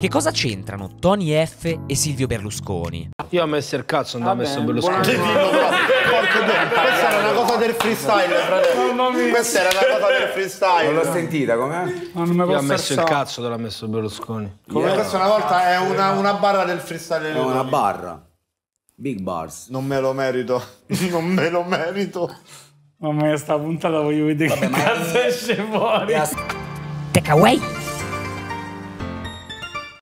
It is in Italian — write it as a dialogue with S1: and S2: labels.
S1: Che cosa c'entrano Tony F e Silvio Berlusconi?
S2: Io ho messo il cazzo, non ho
S3: Vabbè,
S2: messo
S3: buona-
S2: Berlusconi.
S4: Dillo però, porco Dio, questa era una cosa del freestyle, fratello. Questa era una cosa del
S5: Non l'ho
S4: freestyle.
S5: sentita, com'è?
S3: Ma non mi
S2: Io ho
S3: posso
S2: messo il
S3: alzare.
S2: cazzo, non l'ha messo Berlusconi.
S4: Come questa una volta è una, una barra del freestyle.
S5: È una barra. Big bars.
S4: Non me lo merito, non me lo merito.
S3: Mamma mia, sta puntata voglio vedere che cazzo esce fuori.
S1: Takeaway?